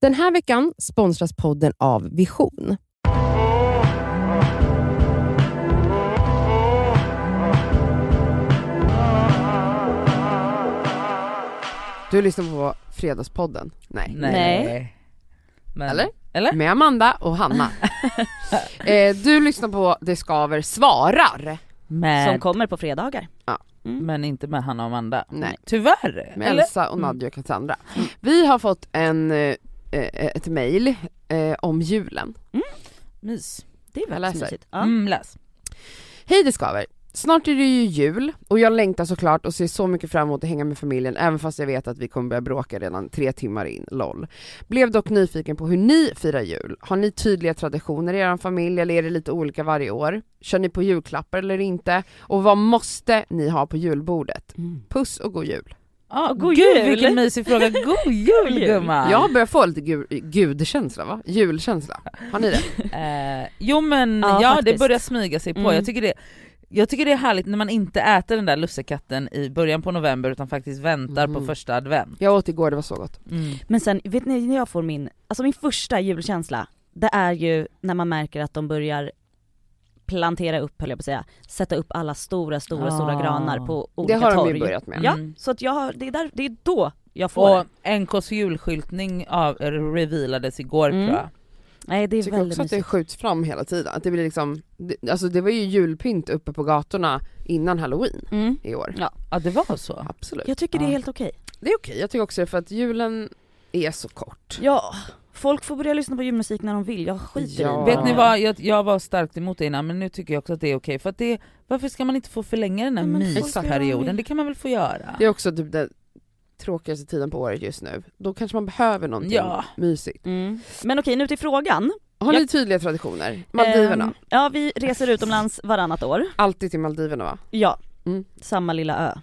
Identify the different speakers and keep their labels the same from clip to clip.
Speaker 1: Den här veckan sponsras podden av Vision. Du lyssnar på Fredagspodden. Nej.
Speaker 2: Nej.
Speaker 3: Men,
Speaker 1: Eller?
Speaker 3: Eller?
Speaker 1: Med Amanda och Hanna. eh, du lyssnar på Det skaver svarar.
Speaker 3: Men,
Speaker 1: Eh,
Speaker 2: Som kommer på fredagar.
Speaker 3: men inte med Hanna och Amanda.
Speaker 1: Nej.
Speaker 3: Tyvärr!
Speaker 1: Med
Speaker 3: Eller?
Speaker 1: Elsa och Nadja och Cassandra. Vi har fått en, eh, ett mejl eh, om julen.
Speaker 3: Mys.
Speaker 2: Det är
Speaker 1: Jag
Speaker 2: väldigt
Speaker 1: läser.
Speaker 2: mysigt. Ja.
Speaker 3: Mm, läs.
Speaker 1: Hej det skaver! Snart är det ju jul och jag längtar såklart och ser så mycket fram emot att hänga med familjen även fast jag vet att vi kommer börja bråka redan tre timmar in, LOL. Blev dock nyfiken på hur ni firar jul. Har ni tydliga traditioner i er familj eller är det lite olika varje år? Kör ni på julklappar eller inte? Och vad måste ni ha på julbordet? Puss och god jul!
Speaker 3: Ah,
Speaker 2: god
Speaker 3: gud,
Speaker 2: jul.
Speaker 3: Vilken mysig fråga. God jul
Speaker 2: jul.
Speaker 3: gumman!
Speaker 1: Jag börjar få lite gu- gudkänsla va? Julkänsla. Har ni det?
Speaker 3: Eh, jo men
Speaker 2: Ja,
Speaker 3: ja,
Speaker 2: faktiskt.
Speaker 3: det börjar smyga sig på.
Speaker 2: Mm.
Speaker 3: Jag, tycker det, jag tycker det är härligt när man inte äter den där lussekatten i början på november utan faktiskt väntar
Speaker 1: Mm.
Speaker 3: på första advent.
Speaker 1: Jag åt igår, det var så gott.
Speaker 2: Men sen, vet ni när jag får min, alltså min första julkänsla, det är ju när man märker att de börjar plantera upp höll jag på att säga, sätta upp alla stora stora stora
Speaker 3: Ah.
Speaker 2: granar på
Speaker 1: Det
Speaker 2: olika
Speaker 1: har de
Speaker 2: torg.
Speaker 1: ju börjat med.
Speaker 2: Ja,
Speaker 3: Mm.
Speaker 2: så att jag har, det är, där, det är då jag får
Speaker 3: Och
Speaker 2: det.
Speaker 3: NKs julskyltning av, revealades igår
Speaker 2: Mm.
Speaker 3: tror jag.
Speaker 2: Nej det är
Speaker 1: Jag tycker
Speaker 2: väldigt
Speaker 1: också att det
Speaker 2: mysigt.
Speaker 1: skjuts fram hela tiden, att det blir liksom, det, alltså det var ju julpynt uppe på gatorna innan halloween
Speaker 2: Mm.
Speaker 1: i år.
Speaker 2: Ja.
Speaker 3: Ja det var så.
Speaker 1: Absolut.
Speaker 2: Jag tycker det är
Speaker 3: Ja.
Speaker 2: helt okej.
Speaker 1: Det är okej, jag tycker också det för att julen är så kort.
Speaker 2: Ja, folk får börja lyssna på julmusik när de vill, jag skiter
Speaker 1: Ja.
Speaker 2: i
Speaker 3: Vet ni vad, jag, jag var starkt emot det innan men nu tycker jag också att det är okej för att det, varför ska man inte få förlänga den här
Speaker 2: Ja, men folk gör vad de
Speaker 3: mysperioden?
Speaker 2: vill.
Speaker 3: Det kan man väl få göra?
Speaker 1: Det är också typ den tråkigaste tiden på året just nu. Då kanske man behöver någonting
Speaker 3: Ja.
Speaker 1: mysigt.
Speaker 2: Mm. Men okej, nu till frågan.
Speaker 1: Har ni
Speaker 2: Jag-
Speaker 1: tydliga traditioner? Maldiverna?
Speaker 2: Ehm, ja vi reser utomlands varannat år.
Speaker 1: Alltid till Maldiverna va?
Speaker 2: Ja,
Speaker 1: Mm.
Speaker 2: samma lilla ö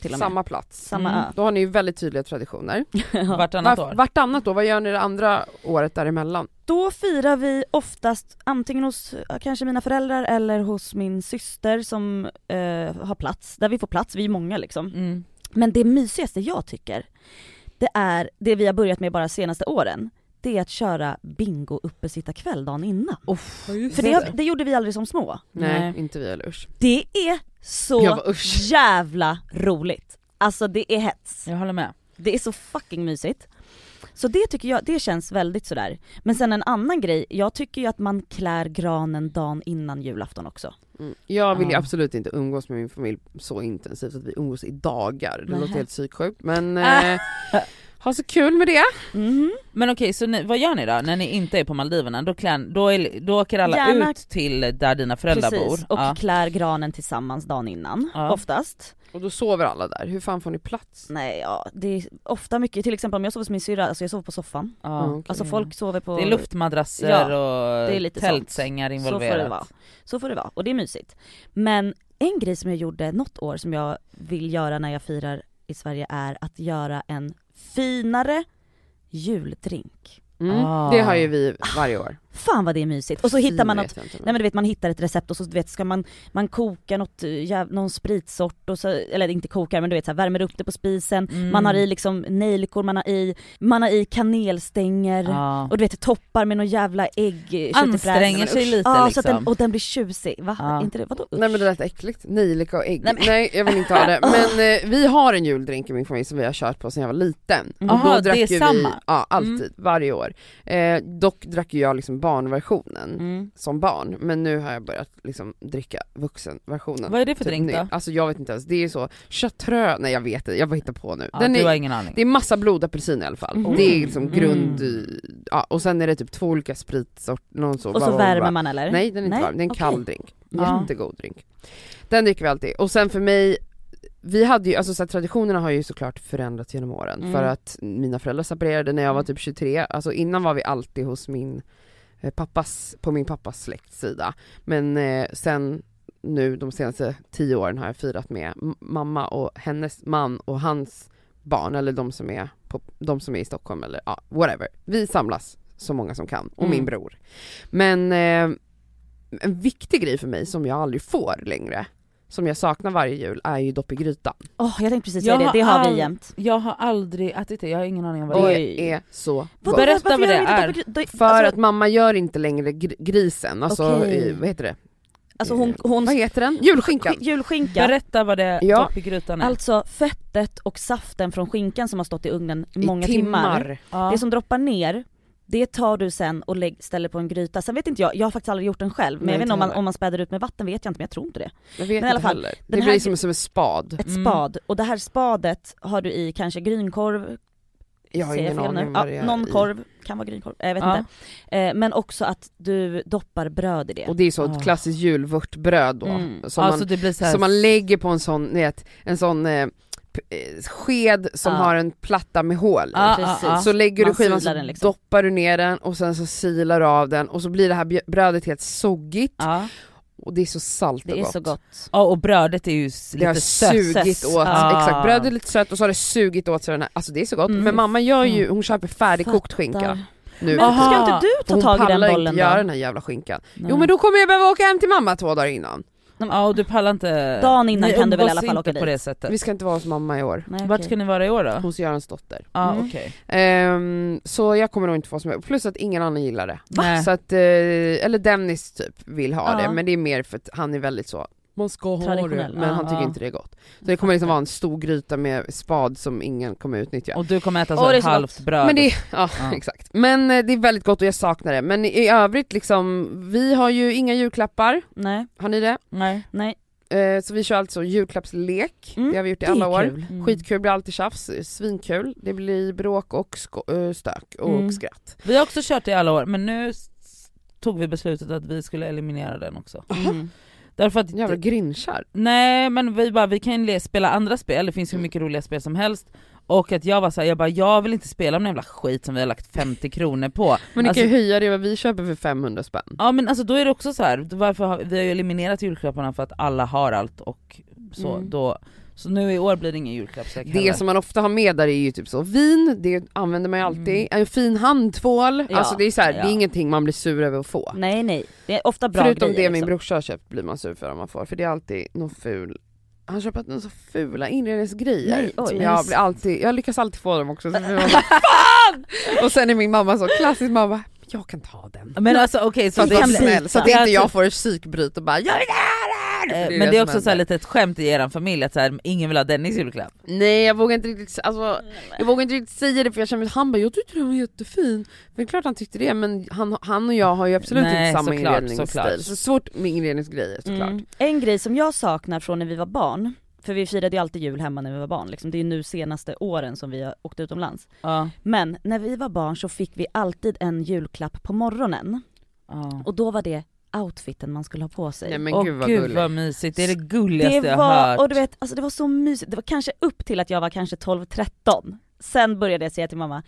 Speaker 2: till och med.
Speaker 1: Samma plats.
Speaker 2: Samma
Speaker 3: Mm.
Speaker 2: ö.
Speaker 1: Då har ni ju väldigt tydliga traditioner.
Speaker 3: Vartannat
Speaker 1: Var,
Speaker 3: år?
Speaker 1: vartannat då, vad gör ni det andra året däremellan?
Speaker 2: Då firar vi oftast antingen hos ja, kanske mina föräldrar eller hos min syster som eh, har plats, där vi får plats, vi är många liksom.
Speaker 3: Mm.
Speaker 2: Men det mysigaste jag tycker, det är det vi har börjat med bara senaste åren, det är att köra bingo kväll dagen innan.
Speaker 3: Uff.
Speaker 2: För det, har- det gjorde vi aldrig som små.
Speaker 1: Nej,
Speaker 3: Nej.
Speaker 1: inte vi eller usch.
Speaker 2: Det är
Speaker 1: Jag
Speaker 2: så
Speaker 1: bara, usch.
Speaker 2: jävla roligt. Alltså det är hets.
Speaker 3: Jag håller med.
Speaker 2: Det är så fucking mysigt. Så det tycker jag, det känns väldigt sådär. Men sen en annan grej, jag tycker ju att man klär granen dagen innan julafton också.
Speaker 1: Mm. Jag vill ju
Speaker 3: Ja.
Speaker 1: absolut inte umgås med min familj så intensivt att vi umgås i dagar, det
Speaker 3: Nähä.
Speaker 1: låter helt psyksjukt men eh, ha så kul med det.
Speaker 2: Mhm.
Speaker 3: Men okej, så ni, vad gör ni då när ni inte är på Maldiverna? Då, klär, då, är, då åker alla
Speaker 2: Gärna-
Speaker 3: ut till där dina föräldrar
Speaker 2: Precis,
Speaker 3: bor?
Speaker 2: och klär granen tillsammans dagen innan,
Speaker 3: Ja.
Speaker 2: oftast.
Speaker 1: Och då sover alla där, hur fan får ni plats?
Speaker 2: Nej ja, det är ofta mycket, till exempel om jag sover hos min syrra, alltså jag sover på soffan.
Speaker 3: ja. Mm.
Speaker 1: Ja, okej.
Speaker 2: Alltså folk sover på...
Speaker 3: Det är luftmadrasser
Speaker 2: Ja,
Speaker 3: och
Speaker 2: det är lite
Speaker 3: tältsängar
Speaker 2: Så får det vara.
Speaker 3: involverat.
Speaker 2: Så får det vara, och det är mysigt. Men en grej som jag gjorde något år som jag vill göra när jag firar i Sverige är att göra en finare juldrink.
Speaker 1: Mm.
Speaker 3: Ah.
Speaker 1: Det har ju vi varje år.
Speaker 2: Fan vad det är mysigt! Och så hittar man något, nej men du vet man hittar ett recept och så du vet ska man, man koka något, eh, jäv, någon spritsort och så, eller inte kokar men du vet så här, värmer upp det på spisen,
Speaker 3: Mm.
Speaker 2: man har i liksom nejlikor, man har i, man har i kanelstänger
Speaker 3: Ja.
Speaker 2: och du vet toppar med någon jävla ägg eh, köttfräs.
Speaker 3: Anstränger sig lite
Speaker 2: Ja, så
Speaker 3: liksom.
Speaker 2: att den, och den blir tjusig, va?
Speaker 3: Ja.
Speaker 2: Är inte det, vadå usch?
Speaker 1: Nej men det lät äckligt, nejlika och ägg. Nej,
Speaker 2: Nej, men-
Speaker 1: jag vill inte ha det. Men eh, vi har en juldrink i min familj som vi har kört på sedan jag var liten. Och
Speaker 3: Aha,
Speaker 1: då drack
Speaker 3: det
Speaker 1: ju
Speaker 3: är
Speaker 1: Vi,
Speaker 3: samma.
Speaker 1: ja alltid, varje år. Eh, dock drack ju jag liksom barnversionen
Speaker 2: Mm.
Speaker 1: som barn, men nu har jag börjat liksom dricka vuxenversionen.
Speaker 3: Vad är det för
Speaker 1: Typ
Speaker 3: drink
Speaker 1: nu.
Speaker 3: då?
Speaker 1: Alltså jag vet inte ens, det är ju så, chartreux, nej jag vet inte, jag bara hittar på nu.
Speaker 3: Ja,
Speaker 1: Den
Speaker 3: du har
Speaker 1: är,
Speaker 3: ingen aning.
Speaker 1: det är massa blodapelsin i alla fall,
Speaker 2: Mhm.
Speaker 1: det är liksom grund,
Speaker 3: Mm.
Speaker 1: ja, och sen är det typ två olika spritsort, någon så,
Speaker 2: Och så värmer man eller?
Speaker 1: Nej den är inte
Speaker 2: Nej,
Speaker 1: varm, det är en
Speaker 2: okej.
Speaker 1: kall drink,
Speaker 3: Ja.
Speaker 1: jättegod drink. Den dricker vi alltid, och sen för mig vi hade ju, alltså så här, traditionerna har ju såklart förändrats genom åren
Speaker 2: Mm.
Speaker 1: för att mina föräldrar separerade när jag var typ 23, alltså innan var vi alltid hos min eh, pappas, på min pappas släkts sida. Men eh, sen nu de senaste tio åren har jag firat med m- mamma och hennes man och hans barn eller de som är, på, de som är i Stockholm eller ja, whatever. Vi samlas så många som kan och min
Speaker 2: Mm.
Speaker 1: bror. Men eh, en viktig grej för mig som jag aldrig får längre som jag saknar varje jul är ju dopp i gryta.
Speaker 2: Åh jag tänkte precis
Speaker 3: Jag
Speaker 2: säga det,
Speaker 3: har
Speaker 2: det har
Speaker 3: all-
Speaker 2: vi jämt.
Speaker 3: Jag har aldrig ätit det, jag har ingen aning om vad det är.
Speaker 1: Det är så
Speaker 3: Vadå?
Speaker 1: gott.
Speaker 3: Berätta vad det är.
Speaker 1: För att mamma gör inte längre gr- grisen, alltså
Speaker 2: Alltså- Okej.
Speaker 1: i, vad heter det?
Speaker 2: alltså hon, hon
Speaker 1: Vad heter den? Julskinkan!
Speaker 2: sk- julskinka,
Speaker 3: Berätta vad det
Speaker 1: Ja.
Speaker 3: dopp i grytan är.
Speaker 2: alltså fettet och saften från skinkan som har stått i ugnen i många
Speaker 1: I
Speaker 2: timmar.
Speaker 3: Ja.
Speaker 2: Det som droppar ner, det tar du sen och lägg, ställer på en gryta. Sen vet inte jag, jag har faktiskt aldrig gjort den själv, men
Speaker 1: Nej,
Speaker 2: jag vet
Speaker 1: inte
Speaker 2: inte om man,
Speaker 1: heller.
Speaker 2: om man späder ut med vatten vet jag inte men jag tror inte det.
Speaker 1: Jag vet
Speaker 2: Men i alla
Speaker 1: inte
Speaker 2: fall,
Speaker 1: heller. Det
Speaker 2: den här
Speaker 1: blir som, som en spad.
Speaker 2: Ett
Speaker 3: Mm.
Speaker 2: spad, och det här spadet har du i kanske grynkorv,
Speaker 1: Jag har
Speaker 2: säger
Speaker 1: ingen
Speaker 2: fel nu?
Speaker 1: aning
Speaker 2: ja,
Speaker 1: vad det är
Speaker 2: Någon
Speaker 1: i.
Speaker 2: korv, kan vara grynkorv, jag vet
Speaker 3: Ja.
Speaker 2: inte. Eh, men också att du doppar bröd i det.
Speaker 1: Och det är så
Speaker 3: Ah.
Speaker 1: ett klassiskt julvörtbröd då.
Speaker 2: Mm.
Speaker 1: Som,
Speaker 3: alltså
Speaker 1: man,
Speaker 3: det blir så här,
Speaker 1: som man lägger på en sån, ni vet, en sån eh, p- eh, sked som
Speaker 2: Ah.
Speaker 1: har en platta med hål i.
Speaker 3: Ja,
Speaker 2: Precis.
Speaker 3: ja, ja.
Speaker 1: Så lägger
Speaker 2: Man
Speaker 1: du skivan så
Speaker 2: silar den liksom.
Speaker 1: doppar du ner den och sen så silar du av den och så blir det här bjö- brödet helt soggigt
Speaker 3: ja.
Speaker 1: och det är så salt och
Speaker 2: Ah. det är så gott.
Speaker 3: ja och brödet är ju s-
Speaker 1: Det har
Speaker 3: lite sött.
Speaker 1: sugit
Speaker 2: sött.
Speaker 1: åt,
Speaker 3: Ah.
Speaker 1: exakt brödet är lite sött och så har det sugit åt sig den här, alltså det är så gott.
Speaker 3: Mm.
Speaker 1: Men mamma gör ju, hon köper färdigkokt
Speaker 2: Där.
Speaker 1: skinka nu.
Speaker 2: Men
Speaker 1: för
Speaker 3: Aha.
Speaker 1: tiden.
Speaker 2: ska inte du
Speaker 1: För
Speaker 2: ta
Speaker 1: Ah, hon
Speaker 2: tag i den
Speaker 1: pallar
Speaker 2: bollen
Speaker 1: inte göra
Speaker 2: då?
Speaker 1: den här jävla skinkan. Jo
Speaker 3: Nej.
Speaker 1: men då kommer jag behöva åka hem till mamma två dagar innan.
Speaker 3: Ja och du pallar inte...
Speaker 2: Dagen innan
Speaker 3: Ni
Speaker 2: kan du väl i alla
Speaker 3: umgås
Speaker 2: fall
Speaker 3: inte
Speaker 2: åka
Speaker 3: på
Speaker 2: dit.
Speaker 3: det sättet.
Speaker 1: Vi ska inte vara hos mamma i år.
Speaker 2: Nej,
Speaker 3: Vart
Speaker 2: okej.
Speaker 3: ska ni vara i år då?
Speaker 1: Hos Görans dotter.
Speaker 3: Ja
Speaker 2: Mm.
Speaker 3: okej.
Speaker 1: Ehm, så jag kommer nog inte få som jag plus att ingen annan gillar det.
Speaker 3: Nej.
Speaker 1: Så att, eh, eller Dennis typ vill ha
Speaker 2: Ja.
Speaker 1: det, men det är mer för att han är väldigt så man ska ha
Speaker 2: Traditionell,
Speaker 1: det, men
Speaker 3: ja,
Speaker 1: han tycker
Speaker 3: ja.
Speaker 1: inte det är gott. Så det kommer liksom vara en stor gryta med spad som ingen kommer utnyttja.
Speaker 3: Och du kommer äta
Speaker 2: Åh,
Speaker 3: så
Speaker 2: det
Speaker 3: här
Speaker 2: är så
Speaker 3: halvt bröd?
Speaker 1: Men det, ja,
Speaker 3: Ja.
Speaker 1: exakt. Men eh, det är väldigt gott och jag saknar det. Men i övrigt liksom, vi har ju inga julklappar,
Speaker 2: Nej,
Speaker 1: har ni det?
Speaker 3: Nej.
Speaker 2: nej.
Speaker 1: Eh, så vi kör alltså julklappslek,
Speaker 2: Mm,
Speaker 1: det har vi gjort i
Speaker 2: det är
Speaker 1: alla år.
Speaker 2: kul.
Speaker 3: Mm.
Speaker 1: Skitkul, blir alltid tjafs, svinkul. Det blir bråk och sko- eh, stök och
Speaker 3: Mm.
Speaker 1: skratt.
Speaker 3: Vi har också kört det i alla år men nu s- tog vi beslutet att vi skulle eliminera den också.
Speaker 2: Mm.
Speaker 3: Därför att
Speaker 1: Jävla grinchar.
Speaker 3: Nej men vi bara, vi kan ju le- spela andra spel, det finns
Speaker 1: Mm.
Speaker 3: hur mycket roliga spel som helst. Och att jag var såhär, jag bara jag vill inte spela om den jävla skit som vi har lagt 50 kronor på.
Speaker 1: Men ni
Speaker 3: Alltså-
Speaker 1: kan ju höja det vad vi köper för 500 spänn.
Speaker 3: Ja men alltså då är det också så här, varför har, vi har ju eliminerat julklapparna för att alla har allt och så
Speaker 2: Mm.
Speaker 3: då så nu i år blir det ingen julklappslek heller.
Speaker 1: Det som man ofta har med där är ju typ så vin, det använder man ju alltid.
Speaker 3: Mm.
Speaker 1: En fin handtvål,
Speaker 2: Ja,
Speaker 1: alltså det är så här, det
Speaker 3: ja.
Speaker 1: är ingenting man blir sur över att få.
Speaker 2: Nej nej, det är ofta bra
Speaker 1: Förutom
Speaker 2: grejer
Speaker 1: det min
Speaker 2: liksom.
Speaker 1: brorsa har köpt blir man sur för om man får, för det är alltid någon ful han köper alltid så fula inredningsgrejer.
Speaker 2: Nej, oj.
Speaker 1: Som jag, blir alltid, jag lyckas alltid få dem också. Så jag bara, Fan! Och sen är min mamma så klassisk mamma, jag kan ta den.
Speaker 3: Men alltså okej
Speaker 1: Så
Speaker 3: så
Speaker 1: att,
Speaker 3: det
Speaker 1: det
Speaker 3: är
Speaker 2: kan bli-
Speaker 1: snäll, så att
Speaker 3: Det är
Speaker 1: inte jag
Speaker 3: alltså-
Speaker 1: får ett psykbryt och bara jag vill ha den! För
Speaker 3: Eh, Men det är
Speaker 1: som
Speaker 3: också så här
Speaker 1: händer.
Speaker 3: lite ett skämt i eran familj att så här, ingen vill ha Dennis julklapp.
Speaker 1: Nej jag vågar inte riktigt, alltså,
Speaker 2: Mm.
Speaker 1: jag vågar inte riktigt säga det för jag känner att han bara jag tyckte den var jättefin. Men det är klart han tyckte det men han, han och jag har ju absolut
Speaker 3: Nej,
Speaker 1: inte samma
Speaker 3: såklart,
Speaker 1: inredningsstil.
Speaker 3: såklart.
Speaker 1: Så svårt med inredningsgrejer såklart.
Speaker 2: Mm. En grej som jag saknar från när vi var barn, för vi firade ju alltid jul hemma när vi var barn liksom. det är ju nu senaste åren som vi har åkt utomlands.
Speaker 3: Ja.
Speaker 2: Men när vi var barn så fick vi alltid en julklapp på morgonen
Speaker 3: Ja.
Speaker 2: och då var det outfiten man skulle ha på sig.
Speaker 1: Nej men
Speaker 3: Åh,
Speaker 1: gud vad
Speaker 3: gud
Speaker 1: gulligt.
Speaker 3: vad mysigt, det är det gulligaste
Speaker 2: det
Speaker 3: jag har
Speaker 2: var,
Speaker 3: hört.
Speaker 2: och du vet, alltså det var så mysigt, det var kanske upp till att jag var kanske 12-13. Sen började jag säga till mamma,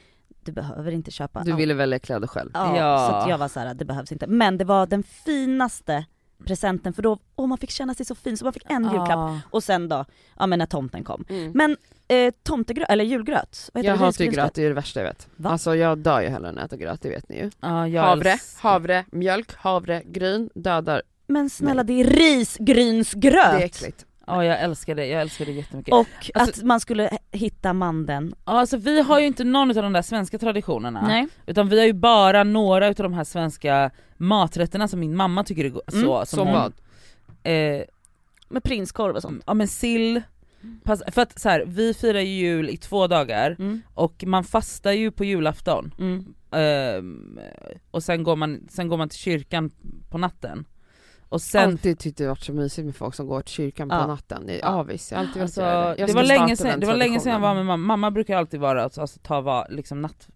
Speaker 2: du behöver inte köpa
Speaker 1: Du ville välja kläder själv.
Speaker 2: Ja,
Speaker 3: Ja.
Speaker 2: så att jag var så här, det behövs inte. Men det var den finaste presenten för då, åh man fick känna sig så fin så man fick en julklapp
Speaker 3: Ja.
Speaker 2: och sen då, ja men när tomten kom.
Speaker 1: Mm.
Speaker 2: Men eh, tomtegröt, eller julgröt, vad heter
Speaker 1: Jag hatar
Speaker 2: det?
Speaker 1: ju
Speaker 2: Risgrynsgröt.
Speaker 1: gröt, det är det värsta jag vet.
Speaker 2: Va?
Speaker 1: Alltså jag dör ju hellre än att äta gröt, det vet ni ju.
Speaker 3: Ja, jag
Speaker 1: Havre,
Speaker 3: älskar-
Speaker 1: havre, mjölk, havre, gryn, dödar.
Speaker 2: Men snälla det är risgrynsgröt!
Speaker 1: Det är äckligt.
Speaker 3: Ja jag älskar det, jag älskar det jättemycket.
Speaker 2: Och
Speaker 3: Alltså-
Speaker 2: att man skulle h- hitta mandeln.
Speaker 3: Ja, alltså, vi har ju inte någon av de där svenska traditionerna. Utan vi har ju bara några av de här svenska maträtterna som min mamma tycker är go- så,
Speaker 1: Mm,
Speaker 3: som
Speaker 1: som
Speaker 3: hon,
Speaker 1: vad?
Speaker 3: Eh,
Speaker 2: Med prinskorv och sånt.
Speaker 3: ja men sill, pass, för att så här, vi firar ju jul i två dagar
Speaker 2: Mm.
Speaker 3: och man fastar ju på julafton
Speaker 2: Mm.
Speaker 3: Ehm, och sen går, man, sen går man till kyrkan på natten. Och sen
Speaker 1: Alltid tyckte det varit så mysigt med folk som går till kyrkan på
Speaker 2: Ja.
Speaker 1: natten, det är
Speaker 2: Ja.
Speaker 1: avis. Jag har alltid
Speaker 3: Alltså,
Speaker 1: velat göra Jag
Speaker 3: det,
Speaker 1: ska
Speaker 3: var
Speaker 1: starta
Speaker 3: länge sen,
Speaker 1: den
Speaker 3: det var länge sedan jag var
Speaker 1: traditionen.
Speaker 3: med mamma, mamma brukar alltid vara alltså, alltså, ta va, liksom natt,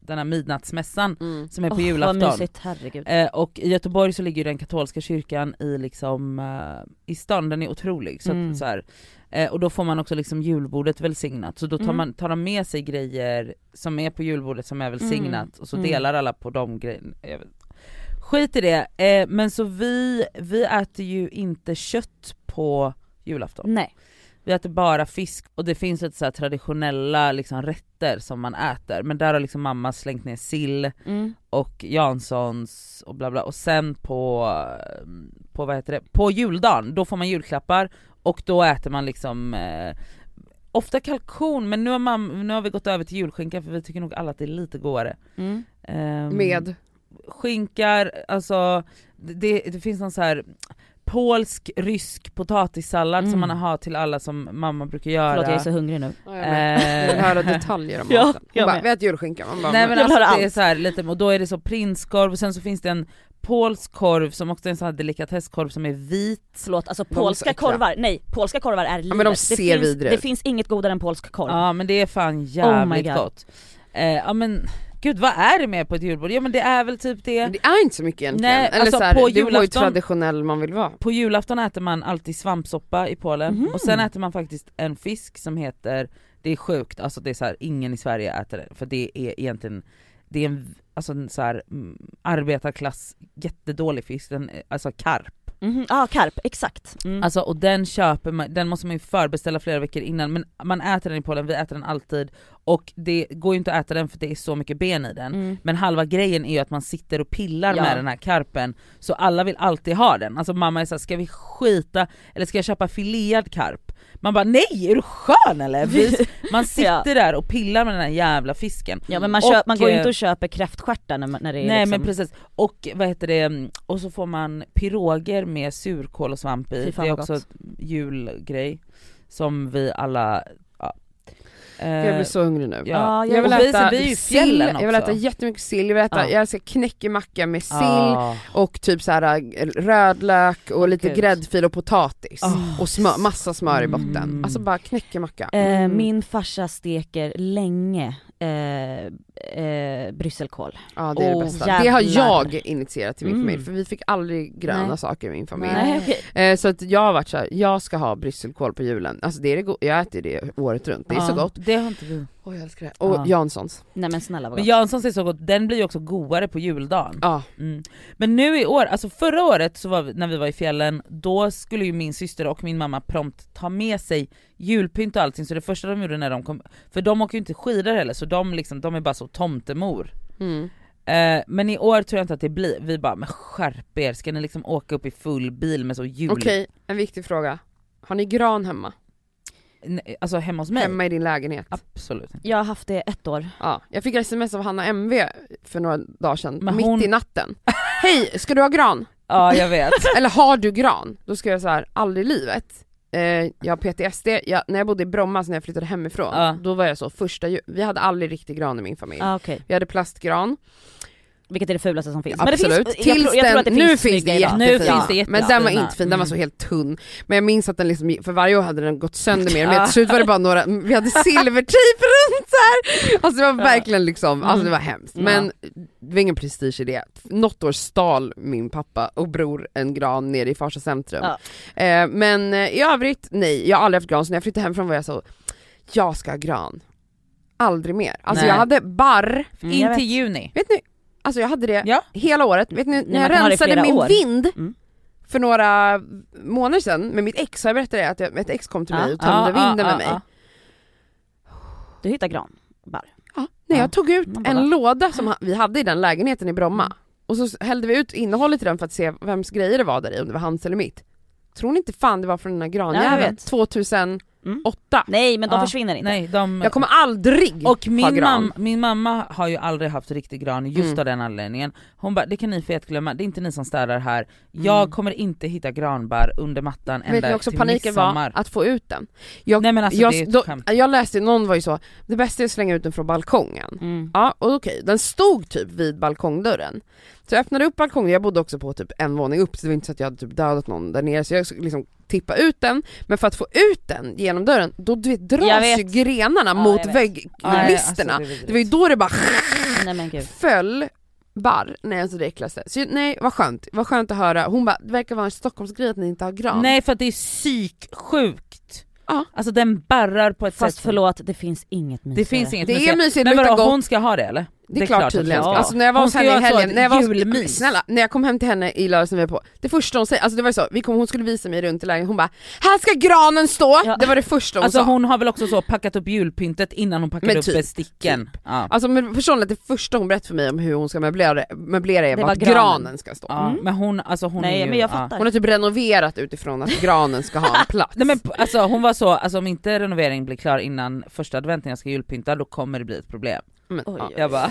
Speaker 3: den här midnattsmässan
Speaker 1: Mm.
Speaker 3: som är på
Speaker 2: Åh, Vad
Speaker 3: julafton.
Speaker 2: mysigt, herregud.
Speaker 3: Eh, och i Göteborg så ligger ju den katolska kyrkan i, liksom, eh, i stan, den är otrolig. Så att,
Speaker 2: Mm.
Speaker 3: så här, eh, och då får man också liksom julbordet välsignat, så då tar,
Speaker 2: Mm.
Speaker 3: man, tar de med sig grejer som är på julbordet som är välsignat
Speaker 2: Mm.
Speaker 3: och så
Speaker 2: Mm.
Speaker 3: delar alla på de grejerna. Jag vet- Skit i det, eh, men så vi, vi äter ju inte kött på julafton.
Speaker 2: Nej.
Speaker 3: Vi äter bara fisk och det finns lite så här traditionella liksom, rätter som man äter men där har liksom mamma slängt ner sill
Speaker 2: Mm.
Speaker 3: och Janssons och bla bla och sen på, på vad heter det, på juldagen då får man julklappar och då äter man liksom eh, ofta kalkon men nu har, mam- nu har vi gått över till julskinka för vi tycker nog alla att det är lite godare.
Speaker 2: Mm.
Speaker 3: Ehm,
Speaker 1: Med,
Speaker 3: skinkar, alltså det- det, det finns någon så här polsk, rysk potatissallad
Speaker 2: Mm.
Speaker 3: som man har till alla som mamma brukar göra.
Speaker 2: Förlåt jag är så hungrig nu.
Speaker 1: ja, jag med. Jag vill
Speaker 3: Eh,
Speaker 1: höra detaljer om
Speaker 2: Ja,
Speaker 1: maten. Hon
Speaker 2: jag
Speaker 1: bara,
Speaker 2: med.
Speaker 1: vi äter julskinka. Man bara,
Speaker 3: Nej men
Speaker 2: Jag vill
Speaker 3: alltså
Speaker 2: höra
Speaker 3: det är
Speaker 2: allt.
Speaker 3: så här lite, och då är det så prinskorv och sen så finns det en polsk korv som också är en sån här delikatesskorv som är vit.
Speaker 2: Förlåt, alltså
Speaker 1: är så
Speaker 2: polska
Speaker 1: äckliga.
Speaker 2: korvar, nej polska korvar är livet.
Speaker 1: men de
Speaker 2: det,
Speaker 1: ser
Speaker 2: finns,
Speaker 1: vidriga ut.
Speaker 2: det finns inget godare än polsk korv. Oh
Speaker 3: Ja men det är fan jävligt
Speaker 2: God.
Speaker 3: gott. Eh, ja men gud vad är det med på ett julbord? Ja men det är väl typ det.
Speaker 1: Men det är inte så mycket egentligen.
Speaker 3: Nej,
Speaker 1: Eller
Speaker 3: alltså,
Speaker 1: så här,
Speaker 3: på
Speaker 1: det var ju
Speaker 3: julafton-
Speaker 1: traditionell man vill vara.
Speaker 3: På julafton äter man alltid svampsoppa i Polen och sen äter man faktiskt en fisk som heter, det är sjukt, alltså det är så här, ingen i Sverige äter det för det är egentligen, det är en, alltså en så här, mm, arbetarklass jättedålig fisk, den, är- alltså karp.
Speaker 2: Mhm, Ja, karp, exakt. Mm.
Speaker 3: Alltså och den köper man, den måste man ju förbeställa flera veckor innan men man äter den i Polen, vi äter den alltid och det går ju inte att äta den för det är så mycket ben i den.
Speaker 2: Mm.
Speaker 3: Men halva grejen är ju att man sitter och pillar
Speaker 2: Ja.
Speaker 3: med den här karpen, så alla vill alltid ha den. Alltså mamma är såhär, ska vi skita eller ska jag köpa filead karp? Man bara nej, är du skön eller? Vi- Man sitter där och pillar med den här jävla fisken.
Speaker 2: Ja men man,
Speaker 3: Och,
Speaker 2: köp, man går ju
Speaker 3: eh,
Speaker 2: inte och köper kräftstjärtar när, man- när det är
Speaker 3: Nej
Speaker 2: liksom,
Speaker 3: men precis, och vad heter det, och så får man piroger med surkål och svamp i,
Speaker 2: Fy
Speaker 3: det
Speaker 2: fan
Speaker 3: är
Speaker 2: vad
Speaker 3: också
Speaker 2: gott.
Speaker 3: ett julgrej som vi alla, ja. Eh,
Speaker 1: Jag blir så hungrig nu.
Speaker 3: ja.
Speaker 2: Ja,
Speaker 1: Jag vill
Speaker 3: Och vi-
Speaker 1: äta
Speaker 3: vi är ju i
Speaker 1: sill,
Speaker 3: fjällen
Speaker 1: jag vill
Speaker 3: också.
Speaker 1: äta jättemycket sill, jag vill äta,
Speaker 3: Ja.
Speaker 1: jag älskar knäckemacka med sill
Speaker 3: Ah.
Speaker 1: och typ så här äh, rödlök och lite
Speaker 3: Gud.
Speaker 1: gräddfil och potatis
Speaker 3: Ah.
Speaker 1: och smör, massa smör i botten.
Speaker 3: Mm.
Speaker 1: Alltså bara knäckemacka.
Speaker 2: eh,
Speaker 3: Mm.
Speaker 2: Min farsa steker länge eh, eh, brysselkål.
Speaker 1: Ja det är det
Speaker 3: Oh,
Speaker 1: bästa. Det har
Speaker 2: jävlar.
Speaker 1: jag initierat till min
Speaker 2: Mm.
Speaker 1: familj för vi fick aldrig gröna
Speaker 2: Nej.
Speaker 1: saker i min familj.
Speaker 3: Nej.
Speaker 2: okej.
Speaker 1: Eh, så att jag har varit såhär, jag ska ha brysselkål på julen. Alltså det är det go- jag äter det året runt, det är
Speaker 3: Ja,
Speaker 1: så gott.
Speaker 3: Det har inte vi.
Speaker 1: Åh jag älskar det. Och
Speaker 3: Ja.
Speaker 1: Janssons.
Speaker 2: Nej men snälla vad
Speaker 3: Men
Speaker 2: gott.
Speaker 3: Janssons är så gott, den blir ju också godare på juldagen.
Speaker 1: Ja.
Speaker 3: Mm. Men nu i år, alltså förra året så var vi, när vi var i fjällen, då skulle ju min syster och min mamma prompt ta med sig julpynt och allting så det första de gjorde när de kom, för de åker ju inte skidor heller så de, liksom, de är bara så tomtemor.
Speaker 1: Mm.
Speaker 3: Eh, men i år tror jag inte att det blir, vi bara men skärp er, ska ni liksom åka upp i full bil med så jul...
Speaker 1: Okej, en viktig fråga. Har ni gran hemma?
Speaker 3: Nej, Alltså hemma hos mig?
Speaker 1: Hemma i din lägenhet?
Speaker 3: Absolut inte.
Speaker 2: Jag har haft det ett år.
Speaker 1: Ja, jag fick sms av Hanna MV för några dagar sedan,
Speaker 3: Men
Speaker 1: mitt
Speaker 3: hon-
Speaker 1: i natten. Hej, ska du ha gran?
Speaker 3: Ja jag vet.
Speaker 1: Eller har du gran? Då skrev jag så här, aldrig i livet. Eh, jag har PTSD, jag, när jag bodde i Bromma, så när jag flyttade hemifrån,
Speaker 3: Ja.
Speaker 1: då var jag så, första ju- vi hade aldrig riktig gran i min familj.
Speaker 2: Ah, okay.
Speaker 1: Vi hade plastgran,
Speaker 2: Vilket är det fulaste som finns. Men
Speaker 1: absolut.
Speaker 2: det finns, jag,
Speaker 1: Tills
Speaker 2: tror, jag tror att det
Speaker 1: den,
Speaker 2: finns
Speaker 1: nu finns
Speaker 2: snygga
Speaker 1: det
Speaker 2: idag.
Speaker 1: jättefina.
Speaker 3: Nu finns det
Speaker 1: men den var
Speaker 3: jättefina.
Speaker 1: inte fin, den var så
Speaker 3: Mm.
Speaker 1: helt tunn. Men jag minns att den liksom, för varje år hade den gått sönder mer och mer,
Speaker 3: Ja.
Speaker 1: till slut var det bara några, vi hade silvertejp runt så här. Alltså det var
Speaker 2: Ja. Mm.
Speaker 1: verkligen liksom, alltså det var hemskt.
Speaker 2: Ja.
Speaker 1: Men det var ingen prestige i det. Något år stal min pappa och bror en gran nere i Farsta centrum.
Speaker 2: Ja.
Speaker 1: Eh, men eh, i övrigt, nej, jag har aldrig haft gran så när jag flyttade hemifrån var jag så, jag ska ha gran. Aldrig mer. Alltså
Speaker 3: Nej.
Speaker 1: jag hade barr,
Speaker 2: Mm, jag
Speaker 3: In
Speaker 2: vet.
Speaker 3: till juni.
Speaker 1: vet ni, alltså jag hade det
Speaker 3: Ja.
Speaker 1: hela året. Vet ni,
Speaker 2: Nej,
Speaker 1: när jag
Speaker 2: man kan ha det i
Speaker 1: rensade
Speaker 2: flera
Speaker 1: min
Speaker 2: år.
Speaker 1: vind
Speaker 2: Mm.
Speaker 1: för några månader sedan med mitt ex, har jag berättat det? Att jag, ett ex kom till
Speaker 2: Ja.
Speaker 1: mig och tömde
Speaker 3: Ja,
Speaker 1: vinden
Speaker 3: ja,
Speaker 1: med mig.
Speaker 3: ja,
Speaker 2: Du hittar gran. Bara.
Speaker 1: Ja, nej,
Speaker 2: Ja.
Speaker 1: jag tog ut
Speaker 2: Man bara-
Speaker 1: en låda som ha- vi hade i den lägenheten i Bromma
Speaker 2: Mm.
Speaker 1: och så hällde vi ut innehållet i den för att se vems grejer det var där i, om det var hans eller mitt. Tror ni inte fan det var från den här
Speaker 2: Ja, jag
Speaker 1: granjäveln
Speaker 2: vet.
Speaker 1: 2008?
Speaker 2: Mm. Nej men de
Speaker 3: Ja,
Speaker 2: försvinner
Speaker 3: ja.
Speaker 2: inte.
Speaker 3: Nej, de...
Speaker 1: Jag kommer aldrig
Speaker 3: Och
Speaker 1: ha
Speaker 3: min,
Speaker 1: gran.
Speaker 3: mam, min mamma har ju aldrig haft riktig gran just
Speaker 1: Mm.
Speaker 3: av den anledningen. Hon bara, det kan ni fet glömma, det är inte ni som städar här. Jag
Speaker 2: Mm.
Speaker 3: kommer inte hitta granbar under mattan
Speaker 1: Vet ni
Speaker 3: ända
Speaker 1: också
Speaker 3: till
Speaker 1: paniken var?
Speaker 3: midsommar.
Speaker 1: Att få ut den. Jag,
Speaker 3: Nej men alltså det är
Speaker 1: jag,
Speaker 3: ett
Speaker 1: då,
Speaker 3: skämt.
Speaker 1: jag läste, någon var ju så, det bästa är att slänga ut den från balkongen.
Speaker 2: Mm.
Speaker 1: Ja och okej, den stod typ vid balkongdörren. Så jag öppnade upp balkongen, jag bodde också på typ en våning upp så det var inte så att jag hade typ dödat någon där nere så jag skulle liksom tippa ut den, men för att få ut den genom dörren då du vet,
Speaker 2: Jag
Speaker 1: dras
Speaker 2: vet.
Speaker 1: ju grenarna
Speaker 2: Ja,
Speaker 1: mot
Speaker 2: jag vet.
Speaker 3: Nej,
Speaker 1: vägglisterna.
Speaker 3: alltså, är
Speaker 1: det var ju då det bara
Speaker 2: Nej men gud.
Speaker 1: föll barr, nej alltså det äckligaste. Så jag- nej vad skönt, vad skönt att höra. Hon bara, det verkar vara en Stockholmsgrej att ni inte har gran.
Speaker 3: Nej för att det är psyksjukt.
Speaker 1: Ja.
Speaker 3: Alltså den barrar på ett
Speaker 2: Fast
Speaker 3: sätt.
Speaker 2: förlåt, det finns inget mysigare.
Speaker 3: Det finns inget
Speaker 1: Det är
Speaker 3: museum.
Speaker 1: mysigt, det
Speaker 3: Men
Speaker 1: luktar
Speaker 3: vadå,
Speaker 1: gott.
Speaker 3: hon ska ha det eller?
Speaker 1: Det är, klart, tydligen.
Speaker 3: hon ska.
Speaker 1: Alltså när jag var
Speaker 3: Hon
Speaker 1: hos
Speaker 3: ska
Speaker 1: henne i
Speaker 3: göra så
Speaker 1: helgen,
Speaker 3: att
Speaker 1: när jag var
Speaker 3: julmys.
Speaker 1: snälla, när jag kom hem till henne i lördags när vi var på, det första hon säger, alltså det var ju så, vi kom, hon skulle visa mig runt i lägenheten, hon bara “Här ska granen stå!”
Speaker 2: Ja.
Speaker 1: Det var det första hon
Speaker 3: Alltså
Speaker 1: sa.
Speaker 3: hon har väl också så packat upp julpyntet innan hon packade
Speaker 1: Men
Speaker 3: upp
Speaker 1: typ,
Speaker 3: besticken. Ja.
Speaker 1: Alltså men förstår ni att det första hon berättade för mig om hur hon ska möblera, möblera är
Speaker 2: Det
Speaker 1: bara
Speaker 2: var
Speaker 1: att granen.
Speaker 2: granen.
Speaker 1: ska stå.
Speaker 3: Ja,
Speaker 2: Mm.
Speaker 3: Men hon, alltså hon är
Speaker 2: Nej
Speaker 3: ju,
Speaker 2: men jag
Speaker 3: ja.
Speaker 2: fattar.
Speaker 1: Hon har typ renoverat utifrån att granen ska ha en plats.
Speaker 3: Nej men p- alltså hon var så, alltså om inte renoveringen blir klar innan första adventen jag ska julpynta då kommer det bli ett problem.
Speaker 1: Men,
Speaker 2: Oj,
Speaker 1: ja.
Speaker 2: oj.
Speaker 3: Jag bara,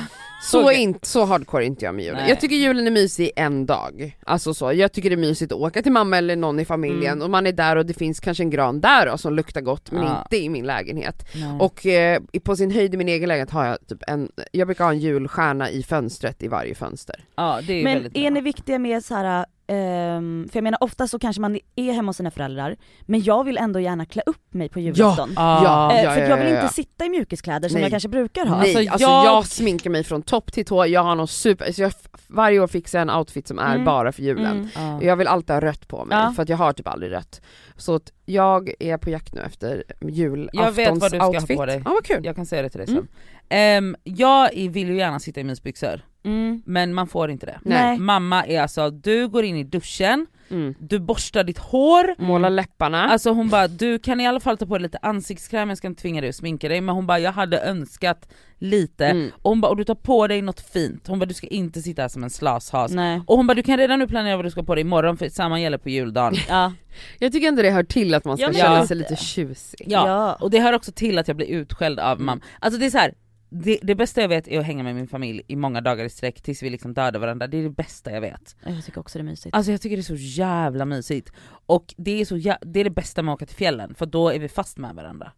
Speaker 1: Så,
Speaker 3: Okej.
Speaker 1: inte, så hardcore är inte jag med julen.
Speaker 3: Nej.
Speaker 1: Jag tycker julen är mysig en dag. Alltså så, jag tycker det är mysigt att åka till mamma eller någon i familjen och man är där och det finns kanske en gran där då, som luktar gott men
Speaker 3: Mm. Ja. Mm.
Speaker 1: inte i min lägenhet. Och eh, i- på sin höjd i min egen lägenhet har jag typ en, jag brukar ha en julstjärna i fönstret i varje fönster.
Speaker 3: ja det är ju
Speaker 2: Men
Speaker 3: väldigt
Speaker 2: är
Speaker 3: bra.
Speaker 2: ni viktiga med så här, ehm, för jag menar ofta så kanske man är hemma hos sina föräldrar, men jag vill ändå gärna klä upp mig på julafton.
Speaker 3: Ah.
Speaker 1: Ja.
Speaker 2: Eh, för att jag vill
Speaker 1: ja, ja.
Speaker 2: inte sitta i mjukiskläder som
Speaker 1: Nej.
Speaker 2: jag kanske brukar ha.
Speaker 1: Nej,
Speaker 3: Alltså,
Speaker 1: alltså jag...
Speaker 3: jag-
Speaker 1: sminkar mig från topp till tå, jag har någon super, alltså jag, f- varje år fixar jag en outfit som är
Speaker 2: Mm.
Speaker 1: bara för julen.
Speaker 2: Mm.
Speaker 3: Ja.
Speaker 1: Och Jag vill alltid ha rött på mig
Speaker 2: Ja.
Speaker 1: för att jag har typ aldrig rött. Så att jag är på jakt nu efter julaftonsoutfit.
Speaker 3: Jag vet vad du ska ha på dig.
Speaker 1: Ja vad kul.
Speaker 3: Jag kan säga det till dig sen.
Speaker 2: Mm.
Speaker 3: Ehm, jag i- vill ju gärna sitta i mysbyxor,
Speaker 2: Mm.
Speaker 3: men man får inte det.
Speaker 1: Nej.
Speaker 2: Nej.
Speaker 3: Mamma är alltså, du går in i duschen,
Speaker 1: Mm.
Speaker 3: du borstar ditt hår,
Speaker 1: Måla läpparna.
Speaker 3: Alltså hon bara, du kan i alla fall ta på dig lite ansiktskräm, jag ska inte tvinga dig att sminka dig, men hon bara jag hade önskat lite.
Speaker 1: Mm.
Speaker 3: Och hon bara, och du tar på dig något fint, hon bara du ska inte sitta här som en slashas.
Speaker 1: Mm.
Speaker 2: Nej.
Speaker 3: Och hon bara du kan redan nu planera vad du ska ha på dig imorgon för samma gäller på juldagen.
Speaker 2: Ja.
Speaker 1: Jag tycker ändå det hör till att man ska
Speaker 2: Ja, men
Speaker 1: känna
Speaker 3: lite.
Speaker 1: sig lite tjusig.
Speaker 3: Ja.
Speaker 2: Ja.
Speaker 3: Och det hör också till att jag blir utskälld av mamma. Alltså det är så här. Det, det bästa jag vet är att hänga med min familj i många dagar i sträck tills vi liksom dödar varandra, det är det bästa jag vet.
Speaker 2: Jag tycker också det är mysigt.
Speaker 3: Alltså jag tycker det är så jävla mysigt. Och det är, så jä- det, är det bästa med att åka till fjällen, för då är vi fast med varandra.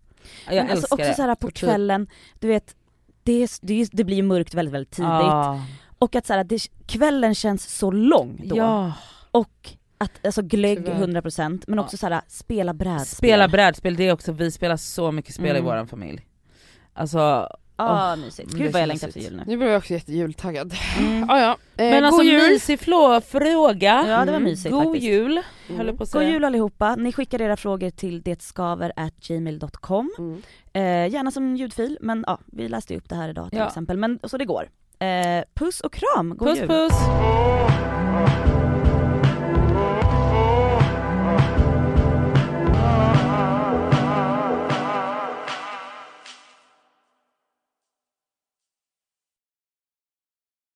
Speaker 3: Jag
Speaker 2: Men
Speaker 3: älskar
Speaker 2: alltså också
Speaker 3: det.
Speaker 2: så här på
Speaker 1: Tortyr.
Speaker 2: kvällen, du vet, det, är, det, är, det blir ju mörkt väldigt väldigt tidigt.
Speaker 3: Ah.
Speaker 2: Och att så här, det, kvällen känns så lång då.
Speaker 3: Ja.
Speaker 2: Och att, alltså glögg
Speaker 1: Tyvärr.
Speaker 2: 100% men
Speaker 3: Ja.
Speaker 2: också så här, spela brädspel.
Speaker 3: Spela brädspel, det är också, vi spelar så mycket spel
Speaker 2: Mm.
Speaker 3: i våran familj. Alltså,
Speaker 2: Ja Mm, mysigt.
Speaker 3: det
Speaker 2: Gud vad jag
Speaker 3: känns
Speaker 2: längtar efter
Speaker 3: mysigt.
Speaker 2: jul nu.
Speaker 1: Nu blir jag också jättejultaggad.
Speaker 2: Mm.
Speaker 1: Ah, ja. eh,
Speaker 3: men
Speaker 1: god
Speaker 3: alltså
Speaker 1: jul!
Speaker 3: mysig flå- fråga.
Speaker 2: Ja det var
Speaker 1: Mm.
Speaker 2: mysigt
Speaker 3: God
Speaker 2: faktiskt.
Speaker 3: jul,
Speaker 1: Mm.
Speaker 3: höll jag på att
Speaker 2: God
Speaker 3: säga.
Speaker 2: jul allihopa, ni skickar era frågor till detskaver.gmail.com
Speaker 1: Mm.
Speaker 2: eh, Gärna som ljudfil, men ja, vi läste ju upp det här idag till
Speaker 3: Ja.
Speaker 2: exempel, men så det går. Eh, puss och kram, god
Speaker 3: Puss
Speaker 2: jul!
Speaker 3: puss!
Speaker 4: Oh,